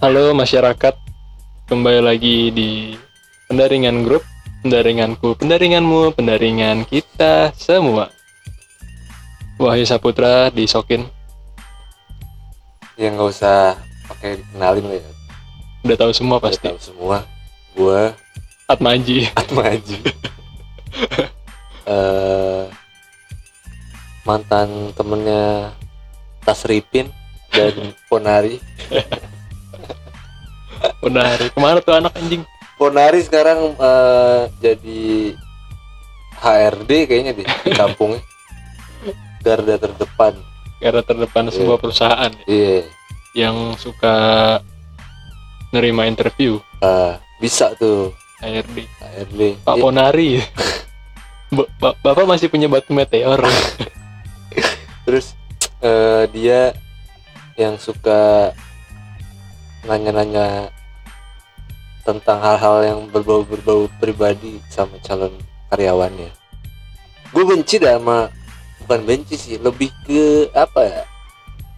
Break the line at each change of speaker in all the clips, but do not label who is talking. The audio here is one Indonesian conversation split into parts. Halo masyarakat, kembali lagi di pendaringan grup, pendaringanku, pendaringanmu, pendaringan kita semua. Wahyu Saputra di Sokin,
Ya nggak usah pakai dikenalin lah ya.
udah tahu semua
Udah
pasti.
Tahu semua. Gue
Atma Aji.
Atma Aji. Eh, mantan temennya Tasripin dan Ponari.
udah hari kemana tuh anak anjing?
Ponari sekarang eh, jadi HRD kayaknya deh di kampungnya. Garda terdepan.
Karena terdepan sebuah perusahaan ya,
Iya.
yang suka nerima interview
Eh, bisa tuh
HRD.
HRD.
Pak
Iya,
Ponari. Ba- ba- Bapak masih punya batu meteor.
Iya. Terus eh, dia yang suka nanya-nanya tentang hal-hal yang berbau berbau pribadi sama calon karyawannya. Gue benci dah sama bukan benci sih, lebih ke apa ya?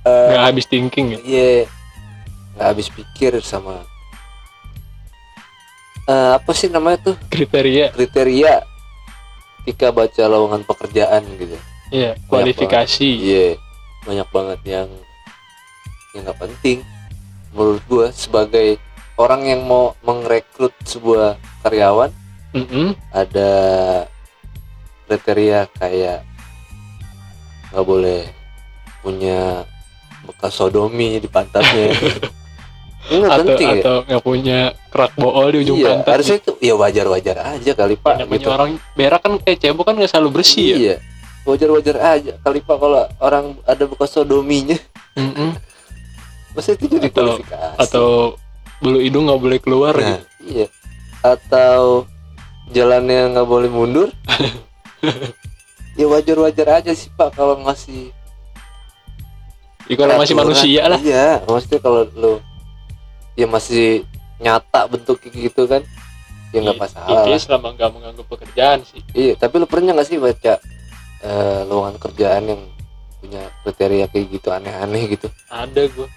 Eh,
Nggak habis thinking ya.
Iya, nggak habis pikir sama eh, apa sih namanya tuh
Kriteria, iya,
kriteria ketika baca lowongan pekerjaan gitu.
ya, kualifikasi.
Iya, banyak banget yang yang nggak penting menurut gua sebagai orang yang mau mengrekrut sebuah karyawan
Mm-mm.
ada kriteria kayak nggak boleh punya bekas sodomi di pantatnya ini nggak
atau
penting ya
atau nggak punya kerak bool di ujung
iya
pantat
harusnya itu ya wajar wajar aja kali pak
Namanya
gitu
orang berak kan kayak cebok kan nggak selalu bersih ya
iya wajar wajar aja kali pak kalau orang ada bekas sodominya
Mm-mm.
Maksudnya itu jadi
Atau-
kualifikasi
atau bulu hidung nggak boleh keluar
Nah,
gitu.
iya atau jalannya nggak boleh mundur ya wajar-wajar aja sih pak kalau ngasih
Ya, kalau masih
peraturan.
manusia lah
iya maksudnya kalau lo ya masih nyata bentuknya gitu kan ya nggak
Iya,
masalah
Intinya
lah.
selama nggak mengganggu pekerjaan sih
iya tapi lo pernah nggak sih baca eh, lowongan kerjaan yang punya kriteria kayak gitu aneh-aneh gitu
ada gue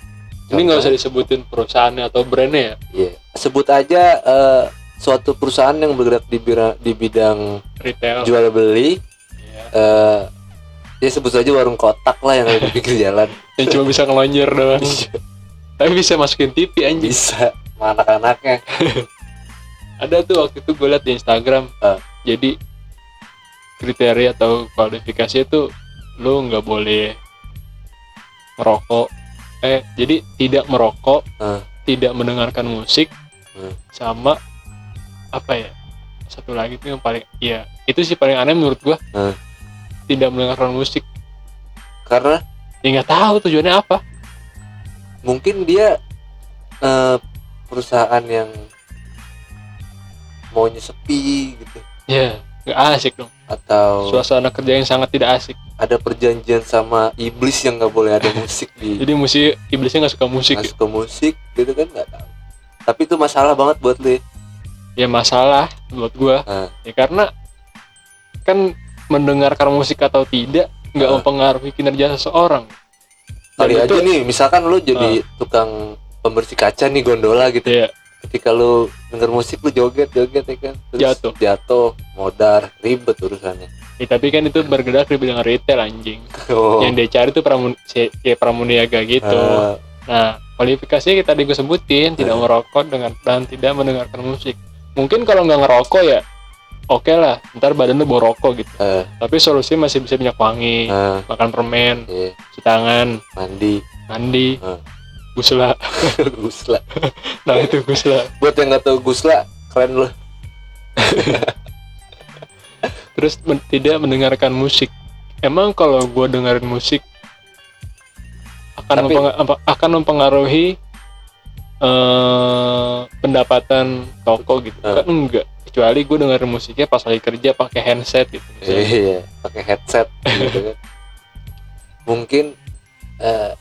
ini nggak usah disebutin perusahaannya atau brandnya ya
Iya. sebut aja eh, suatu perusahaan yang bergerak di, bira- di bidang
retail
jual beli
Iya.
eh ya sebut saja warung kotak lah yang ada di pinggir jalan
yang cuma bisa ngelonjor doang
Iya.
tapi bisa masukin TV anjing
bisa sama anak-anaknya
ada tuh waktu itu gue liat di Instagram
Ah.
jadi kriteria atau kualifikasi itu lu nggak boleh merokok eh jadi tidak merokok
Ah.
tidak mendengarkan musik
Hmm.
sama apa ya satu lagi tuh yang paling ya itu sih paling aneh menurut gua
Ah.
tidak mendengarkan musik
karena
ya nggak tahu tujuannya apa
mungkin dia eh, perusahaan yang maunya sepi gitu
ya nggak asik dong
atau
suasana kerja yang sangat tidak asik
ada perjanjian sama iblis yang nggak boleh ada musik di
jadi musik iblisnya nggak suka musik
masuk ke musik gitu kan nggak tahu tapi itu masalah banget buat lo ya.
ya masalah buat gua
Ah.
ya karena kan mendengarkan musik atau tidak nggak
Ah.
mempengaruhi kinerja seseorang Dan
kali
itu- Ah.
aja nih misalkan lo jadi tukang pembersih kaca nih gondola gitu
Iya,
ketika lu denger musik lu joget joget ya kan Terus
Jatuh.
jatuh modar ribet urusannya
ya, tapi kan itu bergerak di bidang retail anjing
oh
yang dia cari tuh pramun si- kayak pramuniaga gitu
eh,
nah kualifikasinya kita tadi gue sebutin tidak
Ah.
merokok dengan dan tidak mendengarkan musik mungkin kalau nggak ngerokok ya oke lah ntar badan lu bau rokok gitu
eh,
tapi solusinya masih bisa minyak wangi
eh,
makan permen
iya,
cuci tangan
mandi
mandi
Ah.
gusla
gusla
nah itu gusla
buat yang nggak tahu gusla keren lu
terus men- tidak mendengarkan musik. Emang kalau gue dengerin musik akan
Tapi-
mempenga- apa- akan mempengaruhi eh, pendapatan toko gitu?
Eh.
Kan enggak. Kecuali gue dengerin musiknya pas lagi kerja pakai handset gitu. misalnya.
iya pakai headset gitu kan mungkin eh,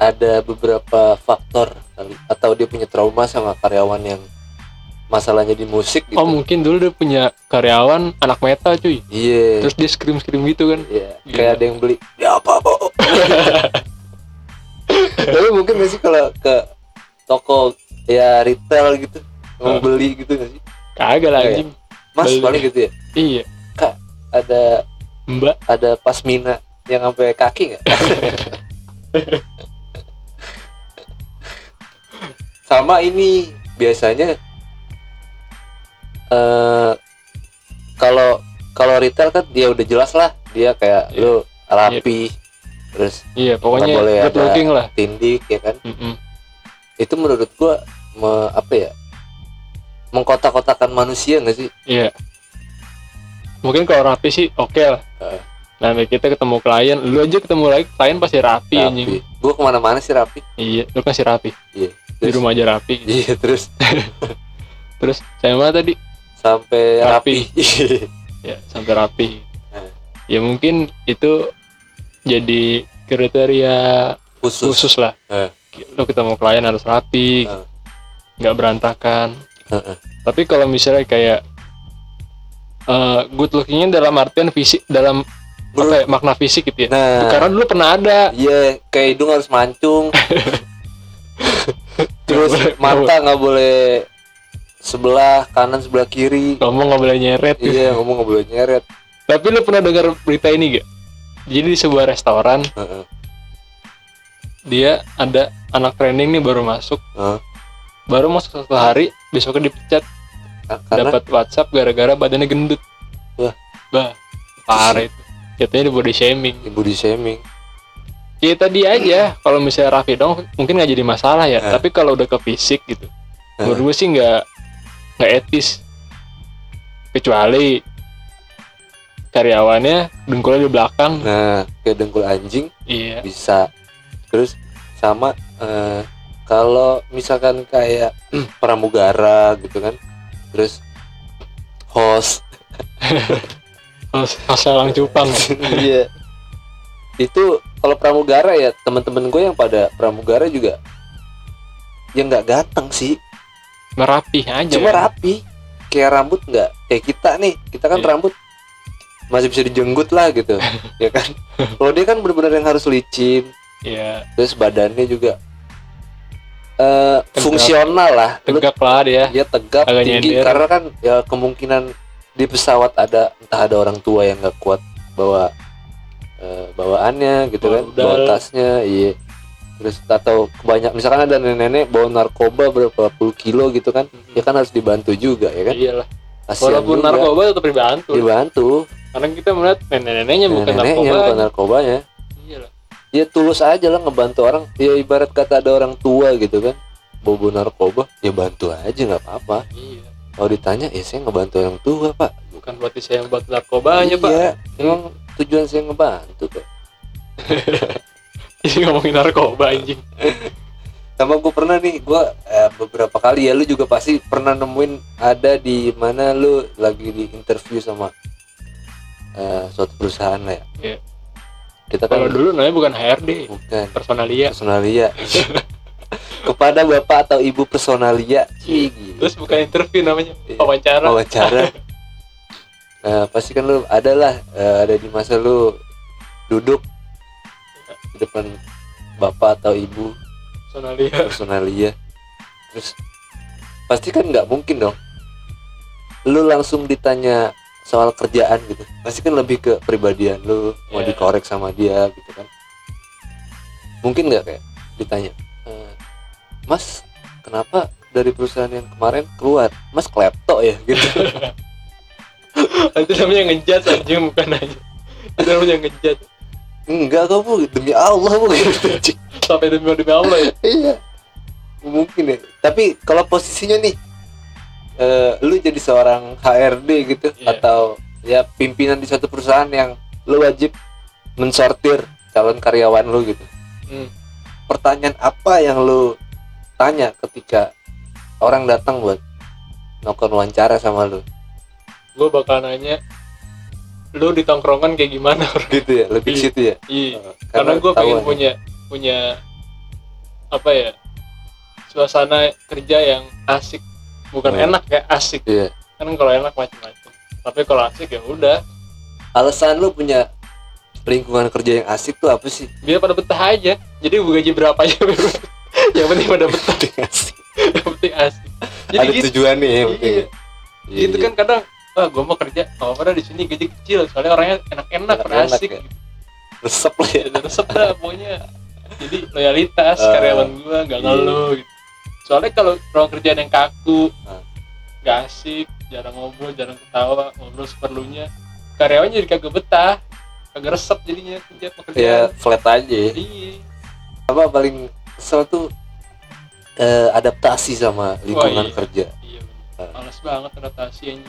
ada beberapa faktor kali atau dia punya trauma sama karyawan yang masalahnya di musik gitu
Oh mungkin dulu dia punya karyawan anak metal cuy.
iya
Terus dia scream scream gitu kan?
Iya,
Iya.
kayak ada yang beli. Ya apa, Bo? Tapi mungkin gak sih kalau ke toko ya retail gitu mau
Oh.
beli gitu nggak sih
Kagak lah
Iya.
anjing.
mas
Beli.
paling gitu ya
Iya.
ada
Mbak.
ada pasmina yang sampai kaki nggak sama ini biasanya eh kalau kalau retail kan dia udah jelas lah dia kayak
Iya.
lu rapi terus
Iya, pokoknya
boleh
good
ada-
looking lah.
tindik ya kan
Mm-mm.
itu menurut gua me- apa ya mengkotak-kotakan manusia nggak sih
Iya. Mungkin kalau rapi sih oke lah. Nah,
Heeh.
Nanti kita ketemu klien, lu aja ketemu lagi klien pasti rapi Iya, anjing.
rapi gua kemana-mana sih rapi
Iya, lu kasih rapi.
Iya.
Di
Terus-
rumah aja rapi.
iya terus
Terus saya mana tadi?
sampai
Rapi.
rapi,
Ya, sampai rapi.
Heeh.
Ya mungkin itu jadi kriteria
khusus
khusus lah.
Heeh.
Lu ketemu klien harus rapi,
Heeh.
nggak berantakan.
Heeh.
Tapi kalau misalnya kayak eh, good lookingnya dalam artian fisik, dalam
Bro.
apa ya, makna fisik gitu ya.
nah
Karena dulu pernah ada.
iya kayak hidung harus mancung terus
Nggak boleh-
mata nggak boleh sebelah kanan sebelah kiri
ngomong nggak boleh nyeret gitu.
iya ngomong nggak boleh nyeret
Tapi lu pernah dengar berita ini gak? Jadi di sebuah restoran
Heeh.
dia ada anak training nih baru masuk,
Heeh.
baru masuk satu hari besoknya dipecat
karena
dapat WhatsApp gara-gara badannya gendut.
Wah.
Bah, parah itu. Katanya di body shaming.
body shaming
Ya tadi aja, kalau misalnya Raffi dong mungkin nggak jadi masalah ya.
Eh.
Tapi kalau udah ke fisik gitu,
Eh.
menurut gue sih nggak nggak etis. Kecuali karyawannya dengkulnya di belakang.
nah kayak dengkul anjing
Iya.
bisa terus sama eh, kalau misalkan kayak hmm, pramugara gitu kan terus host
Mas Salang Cupang.
iya itu kalau pramugara ya teman-teman gue yang pada pramugara juga ya nggak ganteng sih
Merapi aja.
cuma rapi kayak rambut nggak kayak kita nih kita kan
Iya.
rambut masih bisa dijenggut lah gitu ya kan kalau dia kan bener-bener yang harus licin
Iya,
terus badannya juga eh
Tegap.
fungsional lah Lu-
tegap lah dia.
dia tegap
Agak
tinggi
nyender.
karena kan ya kemungkinan di pesawat ada entah ada orang tua yang nggak kuat bawa eh, bawaannya gitu kan
Bawa
bawa
rudal.
tasnya iya terus atau kebanyak misalkan ada nenek-nenek bawa narkoba berapa puluh kilo gitu kan ya kan harus dibantu juga ya kan
Iyalah. Iya
Kasihan
Walaupun
juga.
narkoba tetap dibantu.
dibantu
Karena kita melihat nenek-neneknya bukan
neneknya
narkoba. Iya
bukan narkobanya
Iyalah.
ya tulus aja lah ngebantu orang ya ibarat kata ada orang tua gitu kan bobo narkoba ya bantu aja nggak apa-apa
Iya.
kalau ditanya ya saya ngebantu orang tua pak
Bukan berarti saya yang buat narkobanya, Ah, Pak.
iya emang tujuan saya ngebantu pak
Ini ngomongin narkoba anjing.
sama gue pernah nih gue eh, beberapa kali ya lu juga pasti pernah nemuin ada di mana lu lagi di interview sama eh, suatu perusahaan lah ya
Iya.
kita
Kalau
kan
dulu namanya bukan HRD,
bukan
personalia.
personalia kepada bapak atau ibu personalia Ih, gila.
Terus bukan interview namanya,
Iya.
wawancara.
wawancara Nah, pasti kan lu ada lah eh, ada di masa lu duduk di depan bapak atau ibu
Personalia.
personalia terus pasti kan nggak mungkin dong lu langsung ditanya soal kerjaan gitu pasti kan lebih ke pribadian lu mau
Iya.
dikorek sama dia gitu kan mungkin nggak kayak ditanya "Eh, mas kenapa dari perusahaan yang kemarin keluar mas klepto ya gitu
Itu namanya ngejat anjing bukan aja. Itu namanya ngejat.
enggak kok bu demi Allah bu gitu.
Sampai demi demi Allah ya.
iya mungkin ya tapi kalau posisinya nih eh, lu jadi seorang HRD gitu
Iya.
atau ya pimpinan di suatu perusahaan yang lu wajib mensortir calon karyawan lu gitu
Hmm.
pertanyaan apa yang lu tanya ketika orang datang buat nonton wawancara sama lu
Gue bakal nanya lu di tongkrongan kayak gimana?
gitu ya lebih
Iya.
ke situ ya
Iya. karena gue pengen
ketahuan.
punya punya apa ya suasana kerja yang asik bukan
Hmm.
enak ya asik
iya
kan kalau enak macam-macam tapi kalau asik ya udah
alasan lu punya lingkungan kerja yang asik tuh apa sih
biar pada betah aja jadi gue gaji berapa aja bebas. yang penting pada betah
Dikasih.
yang penting asik jadi
ada
gitu,
tujuan nih ya, penting.
Iya.
Iya,
gitu
iya.
kan kadang ah gue mau kerja oh padahal di sini gaji kecil soalnya orangnya enak-enak pada
Enak-enak
asik
ya. resep lah ya.
gitu. resep dah maunya jadi loyalitas
Eh,
karyawan gue nggak
iya.
ngeluh gitu soalnya kalau ruang kerjaan yang kaku
Ah.
nggak asik jarang ngobrol jarang ketawa ngobrol seperlunya karyawan jadi kagak betah kagak resep jadinya kerja
Ya
pekerjaan
flat aja. ya.
iya
Apa paling kesel tuh eh, adaptasi sama lingkungan
iya.
kerja.
iya bener.
Ah.
males banget adaptasi anjing.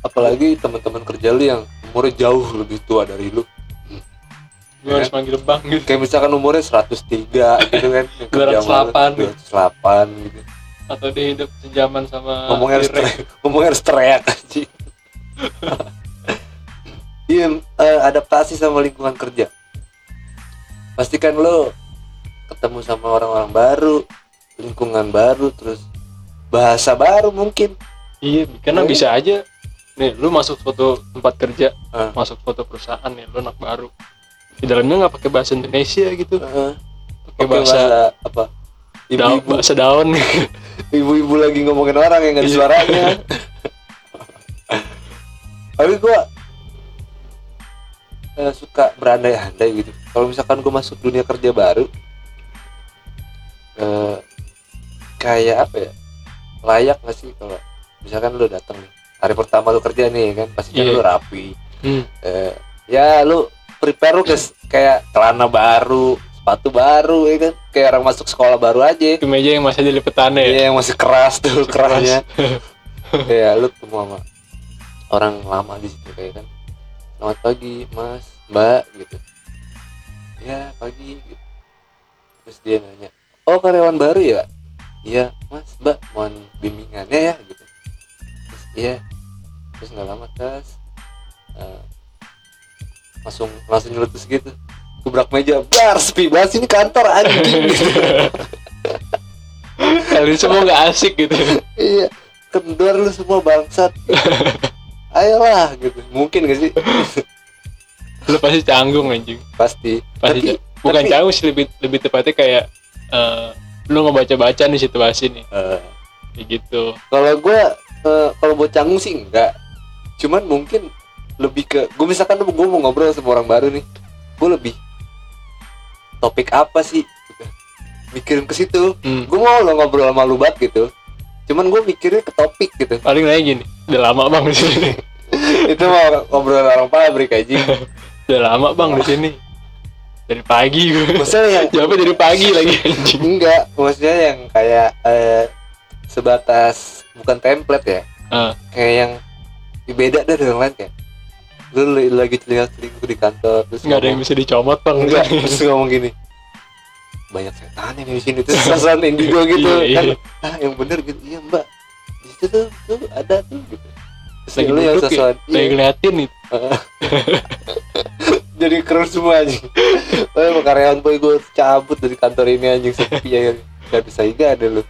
Apalagi teman-teman kerja lu yang umurnya jauh lebih tua dari lu.
gue
Iya.
harus manggil bang gitu
Kayak misalkan umurnya 103 gitu kan. yang kerja sama lu,
208.
208 gitu.
atau dia hidup sejaman sama
ngomongnya harus
Derek.
teriak, ngomongnya harus teriak anjing. Iya, eh, adaptasi sama lingkungan kerja. Pastikan lo ketemu sama orang-orang baru, lingkungan baru, terus bahasa baru mungkin.
Iya, karena
Iya.
bisa aja nih lu masuk foto tempat kerja,
Ah.
masuk foto perusahaan nih, lu anak baru. Di dalamnya nggak pakai bahasa Indonesia gitu,
Heeh.
pakai
Pakai
bahasa
bahasa apa?
daun,
Ibu-ibu,
bahasa daun.
ibu-ibu lagi ngomongin orang yang nggak ada
Iya.
suaranya. Tapi gua eh, suka berandai-andai gitu. Kalau misalkan gua masuk dunia kerja baru, eh, kayak apa ya? Layak nggak sih kalau misalkan lu datang nih hari pertama lu kerja nih kan pasti kan
Iya.
lu rapi.
Hmm,
Eh, ya lu prepare lu kes- kayak celana baru, sepatu baru ya kan kayak orang masuk sekolah baru aja.
ke meja yang masih ada lipetannya ya.
Iya yang masih keras tuh
Iya. Keras.
kerasnya. Iya lu ketemu sama orang lama di situ kayak kan. Selamat pagi mas, mbak gitu. Ya pagi. Gitu. Terus dia nanya, oh karyawan baru ya? Iya mas, mbak mohon bimbingannya ya gitu. Terus iya. Terus nggak lama terus eh, langsung langsung nyeletus gitu kubrak meja bar sepi banget sih ini kantor anjing gitu.
Kalian semua nggak asik gitu.
iya kendor lu semua bangsat ayolah gitu mungkin gak sih
Lu pasti canggung anjing.
pasti
Pasti
tapi
ca- bukan
tapi-
canggung sih lebih lebih tepatnya kayak eh, lu ngebaca-baca nih situasi nih
eh,
kayak gitu.
kalau gue kalau buat canggung sih enggak cuman mungkin lebih ke gue misalkan gue mau ngobrol sama orang baru nih gue lebih topik apa sih gitu. mikirin ke situ
Hmm.
gue mau lo ngobrol sama lu banget gitu cuman gue mikirnya ke topik gitu
Paling nanya gini, udah lama bang di sini.
itu mau ngobrol orang pabrik aja
Udah lama bang di sini. Dari pagi gue.
maksudnya yang
Jawabnya dari pagi lagi anjing.
enggak maksudnya yang kayak eh, sebatas bukan template ya
Ah.
kayak yang beda dari yang lain kayak lu li- lagi celingak selingkuh di kantor terus
nggak ada yang bisa dicomot bang
ngomong, enggak terus ngomong gini banyak setan ini di sini terus sasaran indigo gitu
Iya,
kan
iya.
ah yang bener gitu iya mbak di situ tuh, tuh ada tuh gitu terus
lagi
lu yang
duduk ya,
sasaran
lagi
iya,
ngeliatin nih
jadi keren semua anjing oh emang karyawan boy gue cabut dari kantor ini anjing sepi ya gak bisa iga ada lu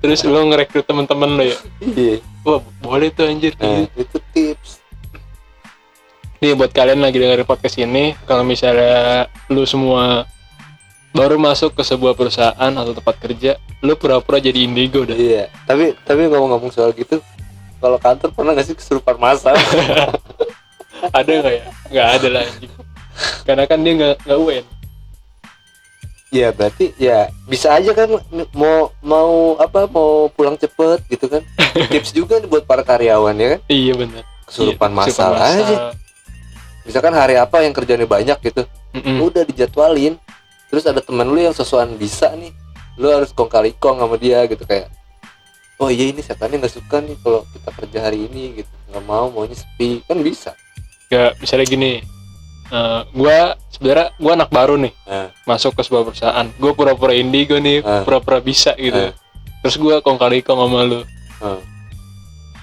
terus lu ngerekrut temen-temen lu ya
iya
wah boleh tuh anjir
Nah, itu tips.
nih buat kalian lagi dengerin podcast ini kalau misalnya lu semua baru masuk ke sebuah perusahaan atau tempat kerja lu pura-pura jadi indigo dah
Iya. Tapi tapi ngomong-ngomong soal gitu, kalau kantor pernah nggak sih kesurupan masa?
ada nggak ya nggak ada lah anjing karena kan dia nggak nggak UN
Iya berarti ya bisa aja kan mau mau apa mau pulang cepet gitu kan. tips juga nih buat para karyawan ya kan.
iya bener
Kesurupan
Iya,
masa aja. Misalkan hari apa yang kerjanya banyak gitu,
Mm-mm.
udah dijadwalin. Terus ada temen lu yang sesuatu bisa nih, lu harus kong kali kong sama dia gitu kayak. Oh iya ini setannya nggak suka nih kalau kita kerja hari ini gitu, nggak mau maunya sepi kan bisa.
Kayak misalnya gini eh, gua sebenarnya gua anak baru nih
Nah.
masuk ke sebuah perusahaan gue pura-pura indigo nih
Ah.
pura-pura bisa gitu
Ah.
terus gue kong kali kong sama lu
Ah.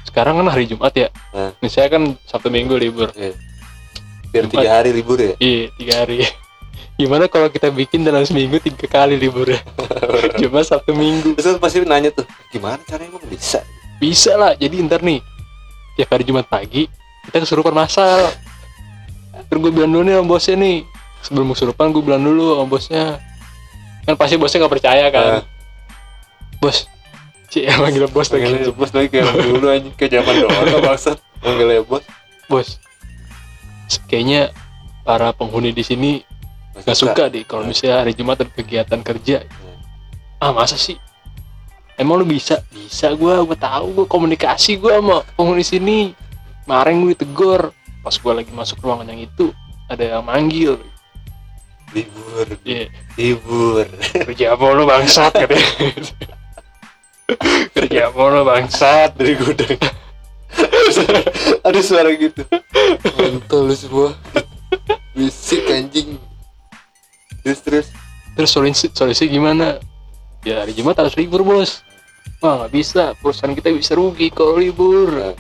sekarang kan hari Jumat ya
Ah.
nih saya kan Sabtu Minggu libur
Biar tiga hari libur ya.
iya tiga hari gimana kalau kita bikin dalam seminggu tiga kali libur ya cuma Sabtu Minggu
Terus pasti nanya tuh, gimana caranya emang bisa?
bisa lah jadi ntar nih tiap hari Jumat pagi kita kesurupan masal terus gue bilang dulu nih sama
Iya. Nah,
bosnya nih sebelum kesurupan gue bilang dulu sama bosnya kan pasti bosnya nggak percaya kan bos Cie, manggil bos lagi
Manggilnya bos lagi kayak orang dulu anjing kayak zaman doang lah maksud manggilnya bos
bos kayaknya para penghuni di sini nggak suka deh kalau misalnya hari Jumat ada kegiatan kerja ah masa sih emang lu bisa bisa gua gua tahu gua komunikasi gua sama penghuni sini kemarin gue ditegur pas gua lagi masuk ruangan yang itu ada yang manggil
libur
Iya,
libur
kerja apa lu bangsat katanya kerja apa lu bangsat
dari gudang ada suara gitu mantul lu semua bisik anjing terus terus
terus solusi solusi gimana ya hari Jumat harus libur bos wah nggak bisa perusahaan kita bisa rugi kalau libur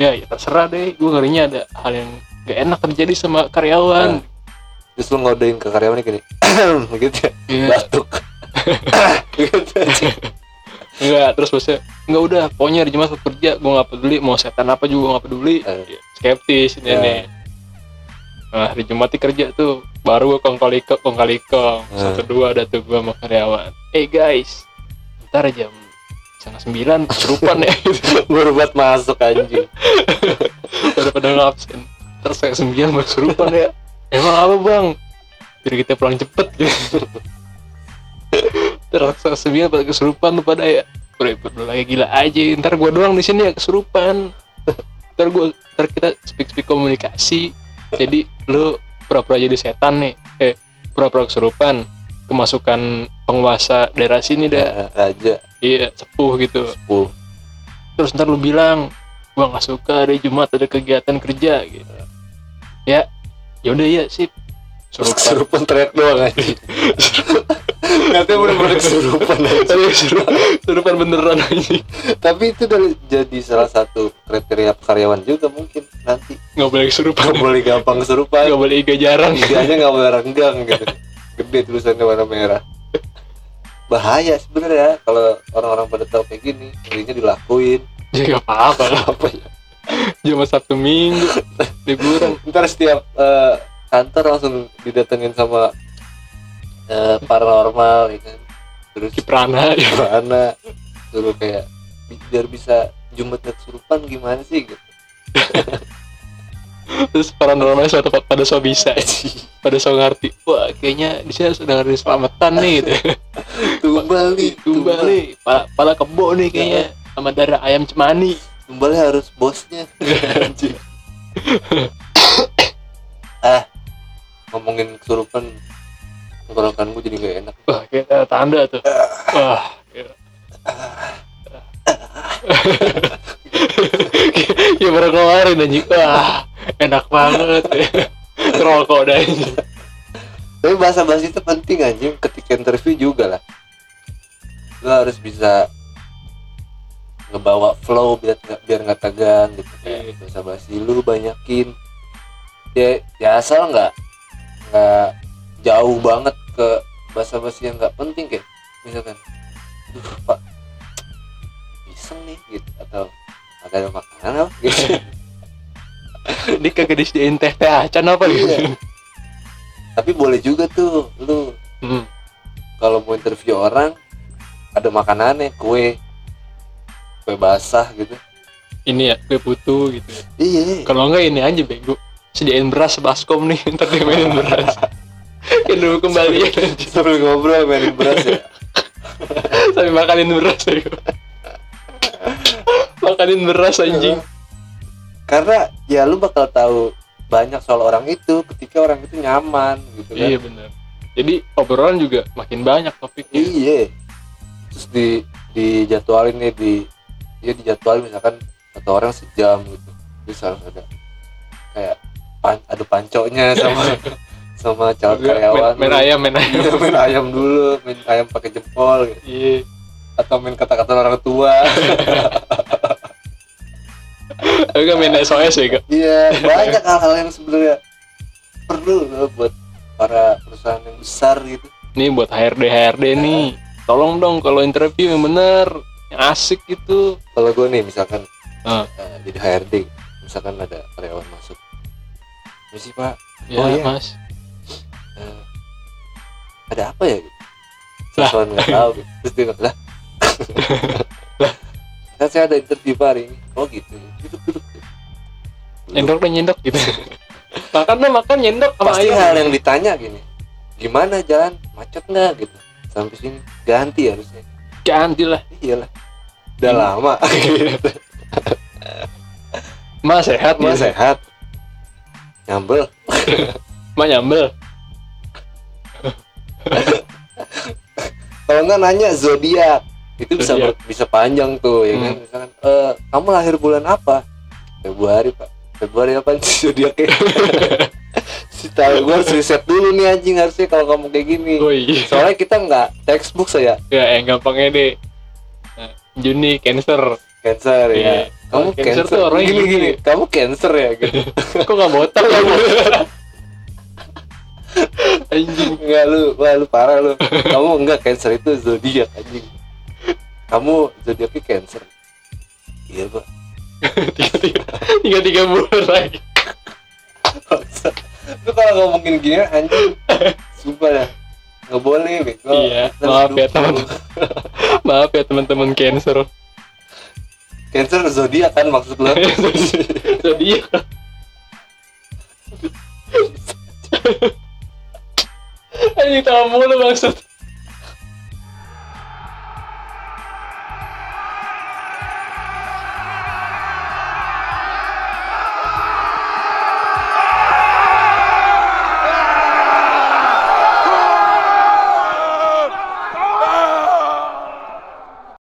ya ya terserah deh gue ngerinya ada hal yang gak enak terjadi sama karyawan
terus lu ngodain ke karyawannya gini gitu ya
Iya,
batuk gitu anjing.
enggak terus bosnya enggak udah pokoknya hari Jumat tetap kerja gue nggak peduli mau setan apa juga nggak peduli
Eh.
Ya, skeptis ini
Ya.
nih nah hari Jumat nih kerja tuh baru gue kong kali kong kali kong
Eh.
satu dua ada tuh gue sama karyawan eh guys ntar jam setengah sembilan kesurupan ya gitu.
baru buat masuk anjing
pada pada ngabsen terus kayak sembilan baru kesurupan ya emang apa bang biar kita pulang cepet gitu terus kayak sembilan pada kesurupan tuh pada ya bro berdua lagi gila aja ntar gua doang di sini ya kesurupan ntar gua ntar kita speak speak komunikasi jadi lu pura-pura jadi setan nih eh pura-pura kesurupan kemasukan penguasa daerah sini dah
Ya, raja
iya sepuh gitu
sepuluh
terus ntar lu bilang gua nggak suka hari Jumat ada kegiatan kerja gitu ya yaudah ya sip suruh
terus
suruh
kesurupan teriak doang anjing katanya bener-bener kesurupan anjing
ya, suruh suruhan beneran aja
tapi itu dari jadi salah satu kriteria karyawan juga mungkin nanti
nggak boleh
nggak
kesurupan
boleh gampang kesurupan
nggak boleh iga jarang
Tiganya nggak boleh renggang gitu gede tulisannya warna merah bahaya sebenarnya ya, kalau orang-orang pada tahu kayak gini jadinya dilakuin
ya nggak apa-apa lah
apa ya
cuma Sabtu Minggu liburan
ntar setiap eh, kantor langsung didatengin sama eh, paranormal ya kan terus
Kiprana ya
gimana suruh kayak bi- biar bisa jumat dan surupan gimana sih gitu
terus paranormalnya suatu tempat pada so bisa ya, pada so ngerti wah kayaknya di sini harus ada ngeri selamatan nih gitu
tumbali
tumbal nih pala, pala kebo nih kayaknya sama darah ayam cemani
tumbali harus bosnya Anjing. ah ngomongin kesurupan tenggorokan gue jadi gak enak
Wah, kita tanda tuh. Wah. gila. ya baru keluarin anjing. Wah, enak banget. Rokok dah anjing.
tapi bahasa bahasa itu penting anjing ketika interview juga lah lo harus bisa ngebawa flow biar nggak biar nggak tegang gitu
Iya.
bahasa bahasa lu banyakin ya ya asal nggak nggak jauh banget ke bahasa bahasa yang nggak penting kayak misalkan duh pak iseng nih gitu atau ada makanan apa gitu
Ini kagak disediain teh teh acan apa gitu.
tapi boleh juga tuh lu
Hmm.
kalau mau interview orang ada makanannya kue kue basah gitu
Ini ya kue putu gitu.
iya
Kalau enggak ini aja bego. Sediain beras baskom nih, ntar dia mainin beras. Ya dulu kembali
sambil ngobrol mainin beras ya
sampai makanin beras ya. makanin beras anjing.
karena ya lu bakal tahu banyak soal orang itu ketika orang itu nyaman gitu kan
Iya benar. Jadi obrolan juga makin banyak topiknya.
iya terus di dijadwalin nih di dia dijadwalin misalkan satu orang sejam gitu terus harus ada kayak pan, ada panconya sama sama calon
Enggak,
karyawan
main, main ayam main ayam
Iya, main ayam dulu main ayam pakai jempol gitu.
iya
atau main kata-kata orang tua
enggak main SOS ya enggak
iya banyak hal-hal yang sebenarnya perlu loh buat para perusahaan yang besar gitu
nih buat HRD HRD nih tolong dong kalau interview yang bener yang asik gitu
kalau gue nih misalkan
Ah.
eh, jadi HRD misalkan ada karyawan masuk misi pak
ya
Oh, iya.
mas
eh, ada apa ya gitu sesuatu nggak tahu gitu. terus dia bilang, lah kan saya ada interview Pak hari ini oh gitu duduk duduk
Nyendok dan nyendok gitu. ya. makan deh makan nyendok sama
pasti
ayam.
hal yang ditanya gini gimana jalan macet nggak gitu sampai sini ganti harusnya
Ganti Ya, lah.
iyalah udah
Hmm.
lama
Mas Iya, sehat
Mas
mas.
sehat nyambel
Mas nyambel.
kalau nggak nanya zodiak itu bisa
Zodiak.
ber- bisa panjang tuh ya kan
Hmm.
misalkan "Eh, kamu lahir bulan apa Februari pak Februari apa sih zodiaknya si tahu gue harus riset dulu nih anjing harusnya kalau kamu kayak gini
Woi.
soalnya kita nggak textbook saya
Ya yang gampangnya deh. Nah, Juni Cancer.
cancer
Iya.
ya kamu
Kalau cancer
cancer,
tuh orangnya gitu
gini,
gini.
gini kamu cancer ya gitu
Kok nggak botak ya? Anjing.
Enggak lu, wah lu parah lu. Kamu enggak cancer itu zodiak anjing. Kamu zodiaknya cancer. Iya, Pak.
Tiga tiga tiga tiga bulan lagi.
Bangsa. Lu kalau ngomongin gini anjing. Sumpah dah. Enggak boleh, bego.
Iya,
Kita
maaf ya,
dukung.
teman-teman. Maaf ya teman-teman Cancer.
Cancer zodiak kan maksud lu.
Jadi Anjing tamu lu maksud.